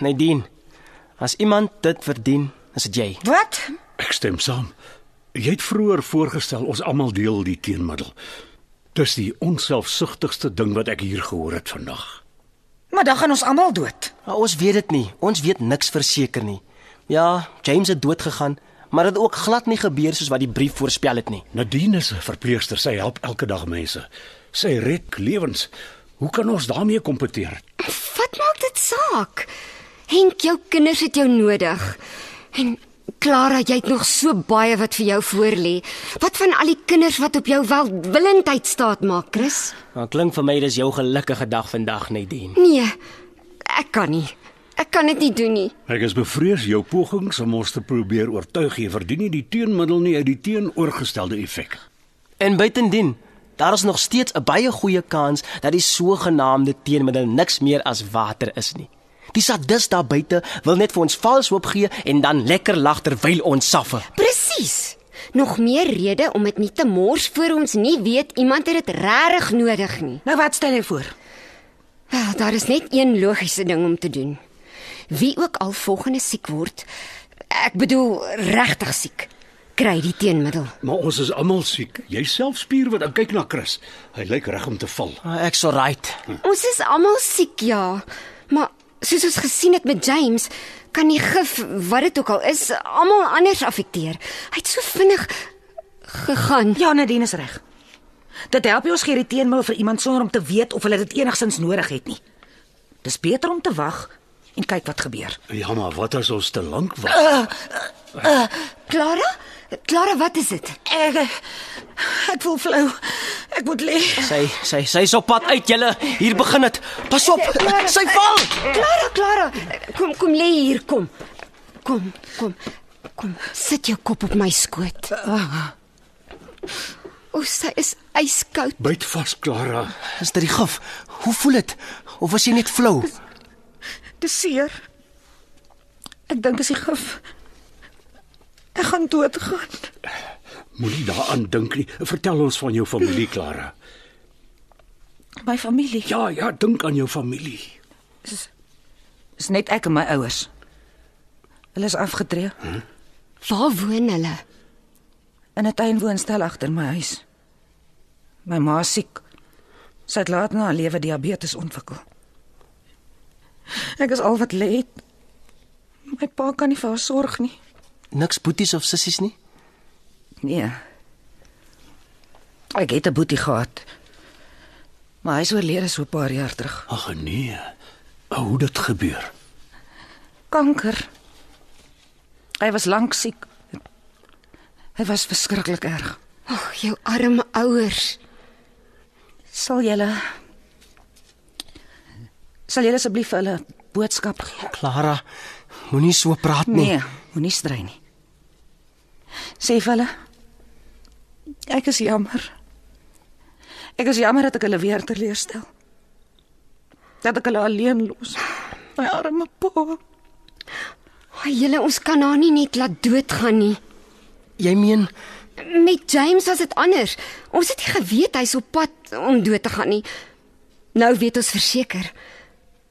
Nadine, as iemand dit verdien, is dit jy. Wat? Ek stem saam. Jy het vroeër voorgestel ons almal deel die teenmiddel. Dis die onselfsugtigste ding wat ek hier gehoor het vandag. Maar dan gaan ons almal dood. Maar ons weet dit nie. Ons weet niks verseker nie. Ja, James het dood gegaan, maar dit het ook glad nie gebeur soos wat die brief voorspel het nie. Nadine is 'n verpleegster, sy help elke dag mense. Sy red lewens. Hoe kan ons daarmee kompeteer? Wat maak dit saak? Henk, jou kinders het jou nodig. En Clara, jy het nog so baie wat vir jou voor lê. Wat van al die kinders wat op jou welwillendheid staat maak, Chris? Nou klink vir my dis jou gelukkige dag vandag, Nadine. Nee, ek kan nie. Ek kan dit nie doen nie. Ek is bevrees jou pogings om ons te probeer oortuig jy verdien nie die teenmiddel nie uit die teenoorgestelde effek. En buitendien, daar is nog steeds 'n baie goeie kans dat die sogenaamde teenmiddel niks meer as water is nie. Die sadist daar buite wil net vir ons vals hoop gee en dan lekker lag terwyl ons saffe. Presies. Nog meer rede om dit nie te mors voor ons nie weet iemand het dit regtig nodig nie. Nou wat stel jy voor? Wel, Ah, daar is net een logiese ding om te doen. Wie ook al volgende siek word, ek bedoel regtig siek, kry die teenmiddel. Maar ons is almal siek. Jouself spier wat kyk na Chris. Hy lyk reg om te val. Ah, Ek's so right. Ons is almal siek, ja. Maar soos ons gesien het met James, kan die gif, wat dit ook al is, almal anders affekteer. Hy het so vinnig gegaan. Ja, Nadine is reg. Dit help nie ons gee die teenmiddel vir iemand sonder om te weet of hulle dit enigstens nodig het nie. Dis beter om te wag en kyk wat gebeur. Ja, maar wat as ons te lank wag? Clara? Clara, wat is dit? Ek ek voel flou. Ek moet lê. Sy sy sy's op pad uit julle. Hier begin dit. Pas op. Sy val. Clara, Clara, kom kom lê hier, kom. Kom, kom. Kom, sit jou kop op my skoot. Ah. O, sy is yskoud. Byt vas, Clara. Is dit die gif? Hoe voel dit? Of was jy net flou? Dis seer. Ek dink dis die gif. Ek gaan doodgaan. Moenie daaraan dink nie. Vertel ons van jou familie, Clara. My familie Ja, ja, dink aan jou familie. is net ek en my ouers. Hulle is afgetree Waar woon hulle? in 'n tuinwoonstel agter my huis. My ma is siek. Sy het laat na haar lewe diabetes ontwikkel. Ek is al wat lê. het. My pa kan nie vir haar sorg nie. Niks boeties of sissies nie. Nee. Ek het 'n boetie gehad. Maar hy is oorlede so 'n paar jaar terug. Ag nee. O, hoe dit gebeur. Kanker. Hy was lank siek. Hy was verskriklik erg. Ag, jou arme ouers. Sal julle Sal jy asseblief vir hulle boodskap gee? Clara, moenie so praat nie. Nee, moenie strei nie. Sê vir hulle ek is jammer. Ek is jammer dat ek hulle weer teleurstel. Dat ek hulle alleen los. My arme pa. O, julle ons kan haar nie net laat doodgaan nie. Jy meen Met James was dit anders. Ons het nie geweet hy's op pad om dood te gaan nie. Nou weet ons verseker.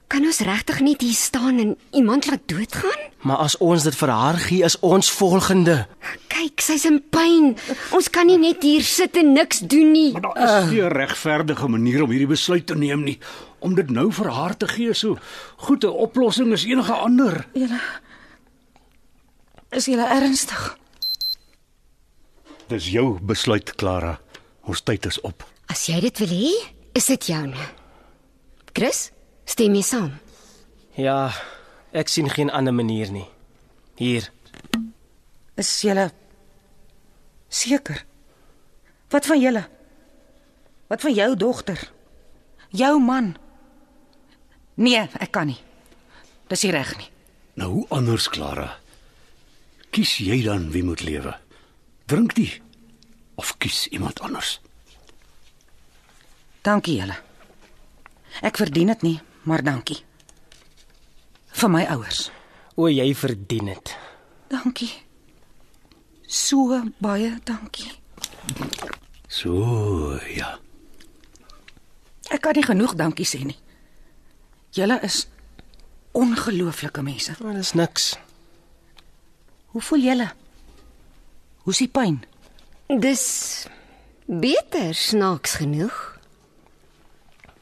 Kan ons regtig net hier staan en iemand laat doodgaan? Maar as ons dit vir haar gee, is ons volgende. Kyk, sy's in pyn. Ons kan nie net hier sit en niks doen nie. Maar daar is nie 'n regverdige manier om hierdie besluit te neem nie. Om dit nou vir haar te gee, so goed 'n oplossing is enige ander. Julle Is julle ernstig? Dis jou besluit, Clara. Ons tyd is op. As jy dit wil hê, is dit joune. Chris, stem jy saam? Ja, ek sien geen ander manier nie. Hier. Is julle seker? Wat van julle? Wat van jou dogter? Jou man? Nee, ek kan nie. Dis nie reg nie. Nou hoe anders, Clara? Kies jy dan wie moet lewe? Drink die of kies iemand anders? Dankie julle. Ek verdien dit nie, maar dankie. Vir my ouers. O, jy verdien dit. Dankie. So baie dankie. So, ja. Ek kan nie genoeg dankie sê nie. Julle is ongelooflike mense. Maar dis niks. Hoe voel julle? Hoe's die pyn? Dis beter snaaks genoeg.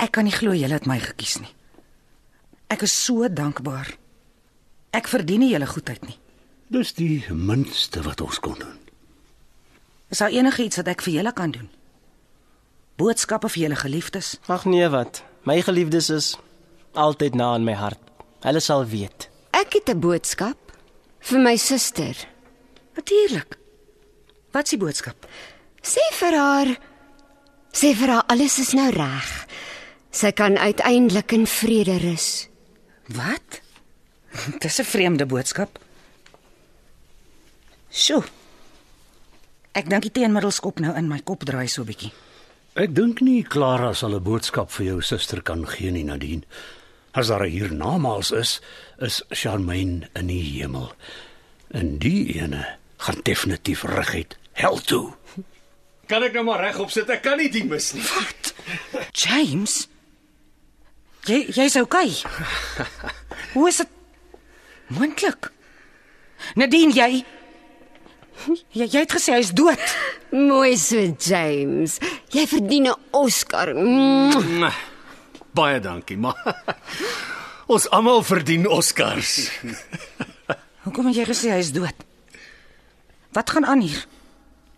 Ek kan nie glo julle het my gekies nie. Ek is so dankbaar. Ek verdien nie julle goedheid nie. Dis die minste wat ons kon doen. Is daar enigiets wat ek vir julle kan doen? Boodskappe vir julle geliefdes? Ag nee wat. My geliefdes is altyd na in my hart. Hulle sal weet. Ek het 'n boodskap vir my suster. Natuurlik. Wat is die boodskap? Sê vir haar sê vir haar alles is nou reg. Sy kan uiteindelik in vrede rus. Wat? Dis 'n vreemde boodskap. Sjoe. Ek dink die teenmiddels kop nou in my kop draai so bietjie. Ek dink nie Clara sal 'n boodskap vir jou suster kan gee nie, Nadine. As daar 'n hiernamaals is, is Charmaine in die hemel. En die ene gaan definitief reguit hel toe. Kan ek nou maar regop sit? Ek kan nie die mis nie. James? Jy jy's okay. Hoe is dit moontlik? Nadine, jy jy, jy het gesê hy's dood. Mooi so James. Jy verdien 'n Oscar. Mm. Mwah. Baie dankie, maar ons almal verdien Oscars. Hoekom het jy gesê hy's dood? Wat gaan aan hier?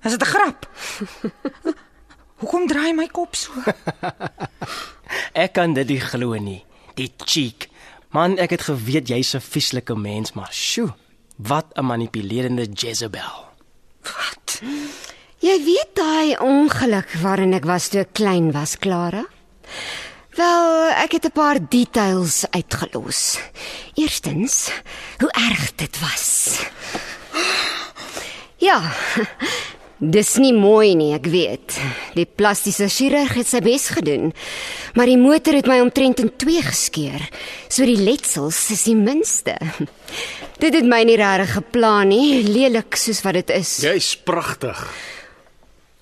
Is dit 'n grap? Hoekom draai my kop so? Ek kan dit nie glo nie. Die cheek. Man, ek het geweet jy's 'n vieslike mens, maar sjoe, wat 'n manipulerende Jezebel. Wat? Jy weet daai ongeluk waarin ek was toe ek klein was, Clara? Wel, ek het 'n paar details uitgelos. Eerstens, hoe erg dit was. Ja. Dis nie mooi nie, ek weet. Die plastiese chirurg het sy bes gedoen, maar die motor het my omtrent in twee geskeur, so die letsels is die minste. Dit het my nie regtig geplan nie, lelik soos wat dit is Jy's pragtig.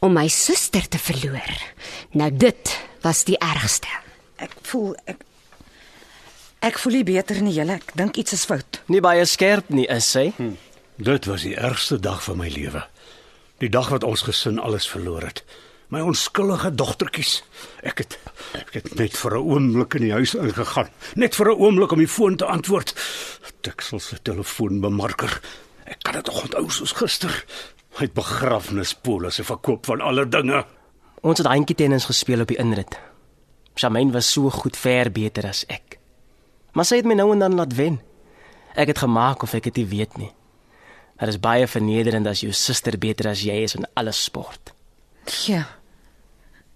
om my suster te verloor. Nou dit was die ergste. Ek voel ek ek voel nie beter nie, julle. Ek dink iets is fout. Nie baie skerp nie is sy. Dit was die ergste dag van my lewe. Die dag wat ons gesin alles verloor het. My onskuldige dogtertjies. Ek het ek het net vir 'n oomblik in die huis ingegaan, net vir 'n oomblik om die foon te antwoord. Tiksel se telefoonbemarker. Ek kan dit nog onthou soos gister. Hy het begrafnispolisse verkoop van alle dinge. Ons het handjie tennis gespeel op die inrit. Charmaine was so goed ver beter as ek. Maar sy het my nou en dan laat wen. Ek het gemaak of ek dit nie weet nie. Dit is baie vernederend as jou suster beter as jy is in alle sport. Ja.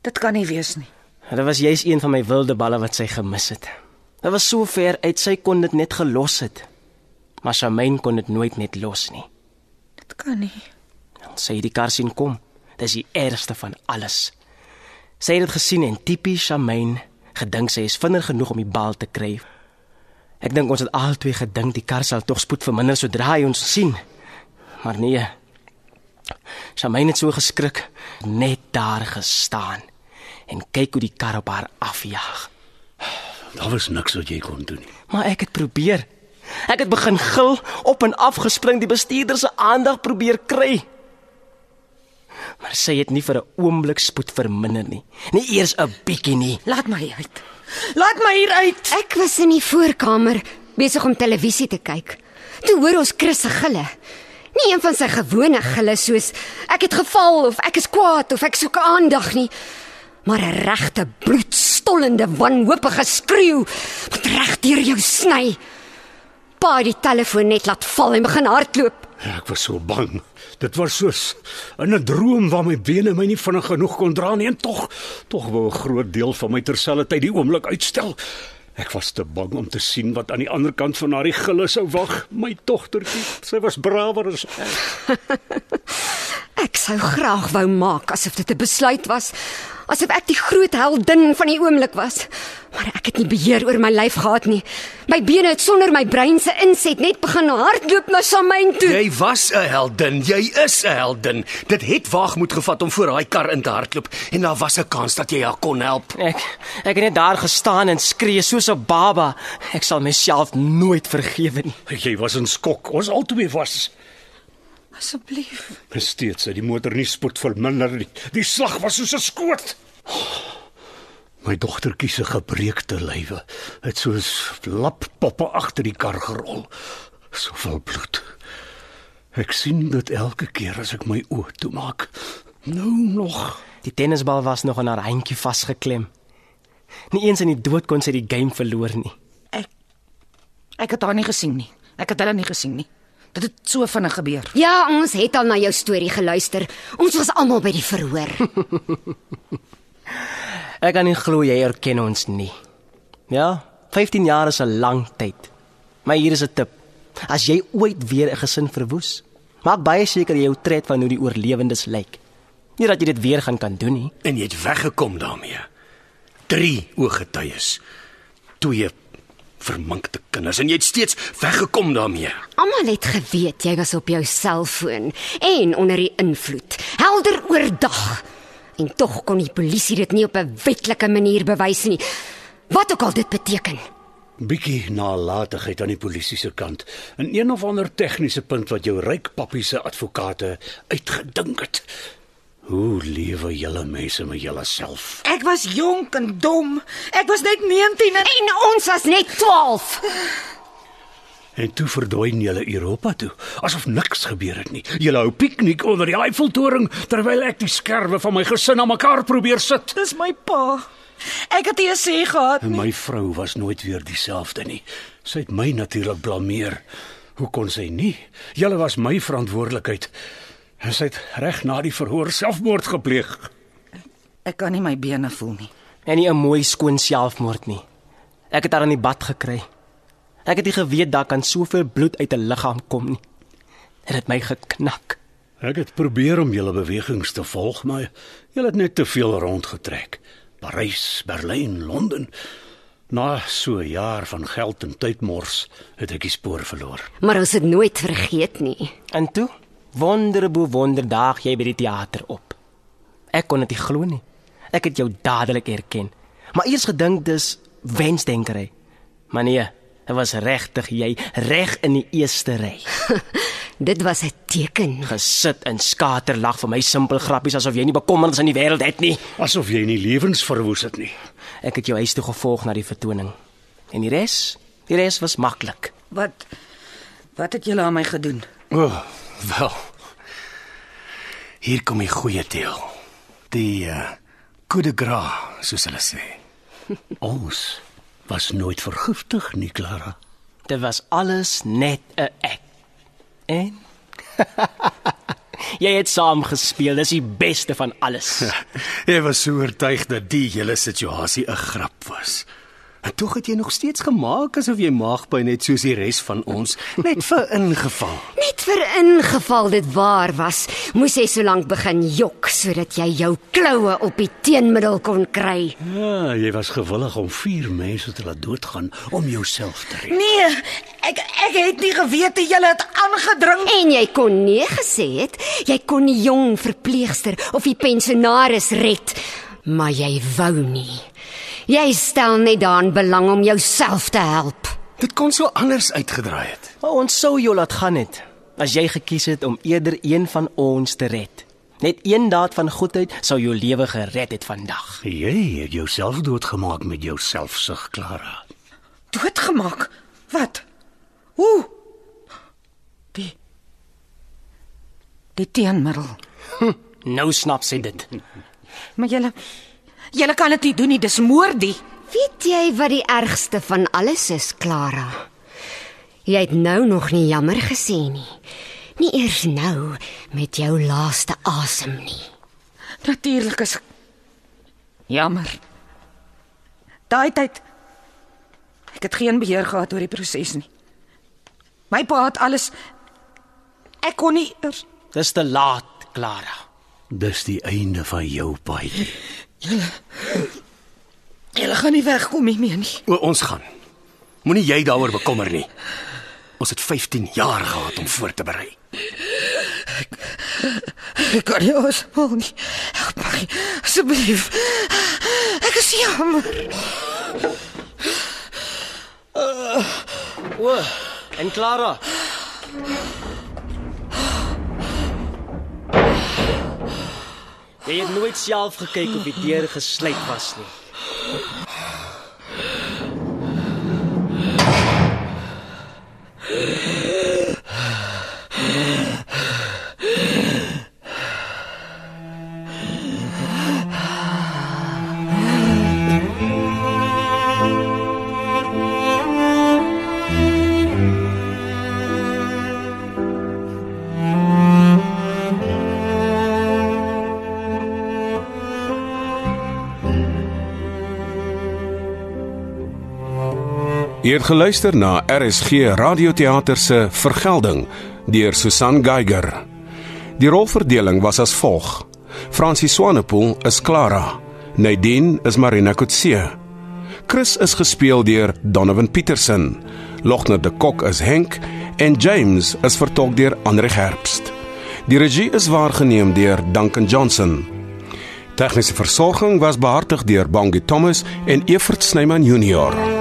Dit kan nie wees nie. Dit was juis een van my wilde balle wat sy gemis het. Dit was so ver uit sy kon dit net gelos het. Maar Charmaine kon dit nooit net los nie. Dit kan nie. Sy het die kar sien kom. Dis die ergste van alles. Sy het dit gesien en tipies Charmaine gedink sy is vinnig genoeg om die bal te kry. Ek dink ons het albei gedink die kar sal tog spoed verminder sodra hy ons sien. Maar nee. Charmaine het so geskrik, net daar gestaan en kyk hoe die kar op haar afjaag. Daar was niks wat jy kon doen nie. Maar ek het probeer. Ek het begin gil, op en af gespring, die bestuurder se aandag probeer kry. Maar sy het nie vir 'n oomblik spoed verminder nie. Nie eers 'n bietjie nie. Laat my uit. Laat my hier uit. Ek was in die voorkamer besig om televisie te kyk. Toe hoor ons Chris se gille. Nie een van sy gewone gille soos ek het geval of ek is kwaad of ek soek aandag nie, maar 'n regte bloedstollende wanhoopige skreeu wat reg deur jou sny. Pa het die telefoon net laat val en begin hardloop. Ja, Ek was so bang. Dit was soos in 'n droom waar my bene my nie vinnig genoeg kon dra nie en tog tog wou 'n groot deel van my terselfdertyd die oomblik uitstel. Ek was te bang om te sien wat aan die ander kant van haar gille sou wag. My dogtertjie, sy was brawer as ek. Ek sou graag wou maak asof dit 'n besluit was, asof ek die groot heldin van die oomblik was. Maar ek het nie beheer oor my lyf gehad nie. My bene het sonder my brein se inset net begin hardloop na Shamaine toe. Jy was 'n heldin, jy is 'n heldin. Dit het waagmoed gevat om voor daai kar in te hardloop en daar was 'n kans dat jy haar kon help. Ek ek het net daar gestaan en skree soos 'n baba. Ek sal myself nooit vergewe nie. Jy was in skok. Ons albei was. Asseblief. Maar Steeds het die motor nie spoed verminder nie. Die slag was soos 'n skoot. My dogtertjie se gebreekte lywe het soos lappoppe agter die kar gerol. Soveel bloed. Ek sien dit elke keer as ek my oë toemaak. Nou nog. Die tennisbal was nog aan haar handjie vasgeklem. Nie eens in die dood kon sy die game verloor nie. Ek het haar nie gesien nie. Ek het hulle nie gesien nie. Dit het so vinnig gebeur. Ja, ons het al na jou storie geluister. Ons was almal by die verhoor. Ek kan nie glo jy herken ons nie. Ja, 15 jaar is 'n lang tyd. Maar hier is 'n tip. As jy ooit weer 'n gesin verwoes, maak baie seker jy tred van hoe die oorlewendes lyk. Nie dat jy dit weer gaan kan doen nie. En jy het weggekom daarmee. 3 ooggetuies. 2 verminkte kinders en jy het steeds weggekom daarmee. Almal het geweet jy was op jou selfoon en onder die invloed. Helder oordag. En tog kon die polisie dit nie op 'n wetlike manier bewys nie. Wat ook al dit beteken. Bietjie nalatigheid aan die polisie se kant. In een of ander tegniese punt wat jou ryk pappie se advokate uitgedink het. Hoe lewe julle mense met julleself? Ek was jonk en dom. Ek was net 19 en En ons was net 12. En toe verdwyn julle Europa toe, asof niks gebeur het nie. Julle hou piknik onder die Eiffeltoring terwyl ek die skerwe van my gesin aan mekaar probeer sit. dis my pa. Ek het eers sê gehad. En my vrou was nooit weer dieselfde nie. Sy het my natuurlik blameer. Hoe kon sy nie? Julle was my verantwoordelikheid. En sy het reg na die verhoor selfmoord gepleeg. Ek kan nie my bene voel nie. En nie 'n mooi skoon selfmoord nie. Ek het haar in die bad gekry. Ek het nie geweet daar kan soveel bloed uit 'n liggaam kom nie. Dit het my geknak. Ek het probeer om julle bewegings te volg, maar julle het net te veel rondgetrek. Parys, Berlyn, Londen. Na so 'n jaar van geld en tydmors het ek die spoor verloor. Maar ons het nooit vergeet nie. En toe, wonder bo wonder daag jy by die teater op. Ek kon dit nie glo nie. Ek het jou dadelik herken. Maar eers gedink dis wensdenkery. Maar nee, dit was regtig jy, reg in die eerste ry. Dit was 'n teken. Gesit en skaterlag vir my simpel grappies asof jy nie bekommernisse in die wêreld het nie. Asof jy nie lewens verwoes het nie. Ek het jou huis toe gevolg na die vertoning. En die res? Die res was maklik. Wat wat het julle aan my gedoen? O, oh, wel. Hier kom die goeie deel. Die eh, uh, coup de grace, soos hulle sê. Ons was nooit vergiftig nie, Clara. Dit was alles net 'n ek. En jy het saam gespeel. Dis die beste van alles. Jy was so oortuig dat die hele situasie 'n grap was. En tog het jy nog steeds gemaak asof jy maagpyn het soos die res van ons, net vir ingeval. Net vir ingeval dit waar was, moes jy so lank begin jok sodat jy jou kloue op die teenmiddel kon kry. Ja, jy was gewillig om vier mense te laat doodgaan om jouself te red. Nee, ek ek het nie geweet jy het aangedring. En jy kon nee gesê het, jy kon die jong verpleegster of die pensionaris red, maar jy wou nie. Jy stel net daarin belang om jouself te help. Dit kon so anders uitgedraai het. Maar ons sou jou laat gaan het as jy gekies het om eerder een van ons te red. Net een daad van goedheid sou jou lewe gered het vandag. Jy het jouself doodgemaak met jou selfsug, Clara. Doodgemaak. Wat? Hoe? Die die teenmiddel. Nou snap sy dit. Maar julle julle kan dit nie doen nie, dis moordie. Weet jy wat die ergste van alles is, Clara? Jy het nou nog nie jammer gesê nie. Nie eers nou met jou laaste asem nie. Natuurlik is ek- jammer. Daai tyd ek het geen beheer gehad oor die proses nie. My pa het alles ek kon nie eers Dis te laat, Clara. Dis die einde van jou paadjie. Julle gaan nie wegkom hiermee nie. O, ons gaan. Moenie jy daaroor bekommer nie. Ons het 15 jaar gehad om voor te berei. Ek kan nie osmal nie. Help my asseblief. Ek is jammer. O, en Clara. Jy het nooit self gekyk of die deur gesluit was nie. Jy het geluister na RSG Radioteater se Vergelding deur Susan Geiger. Die rolverdeling was as volg: Francis Swanepoel is Clara, Nadine is Marina Kutse. Chris is gespeel deur Donovan Petersen. Logner de Kok is Henk en James is vertolk deur Andre Gerbst. Die regie is waargeneem deur Duncan Johnson. Tegniese versorging was behartig deur Bongie Thomas en Evert Snyman Junior.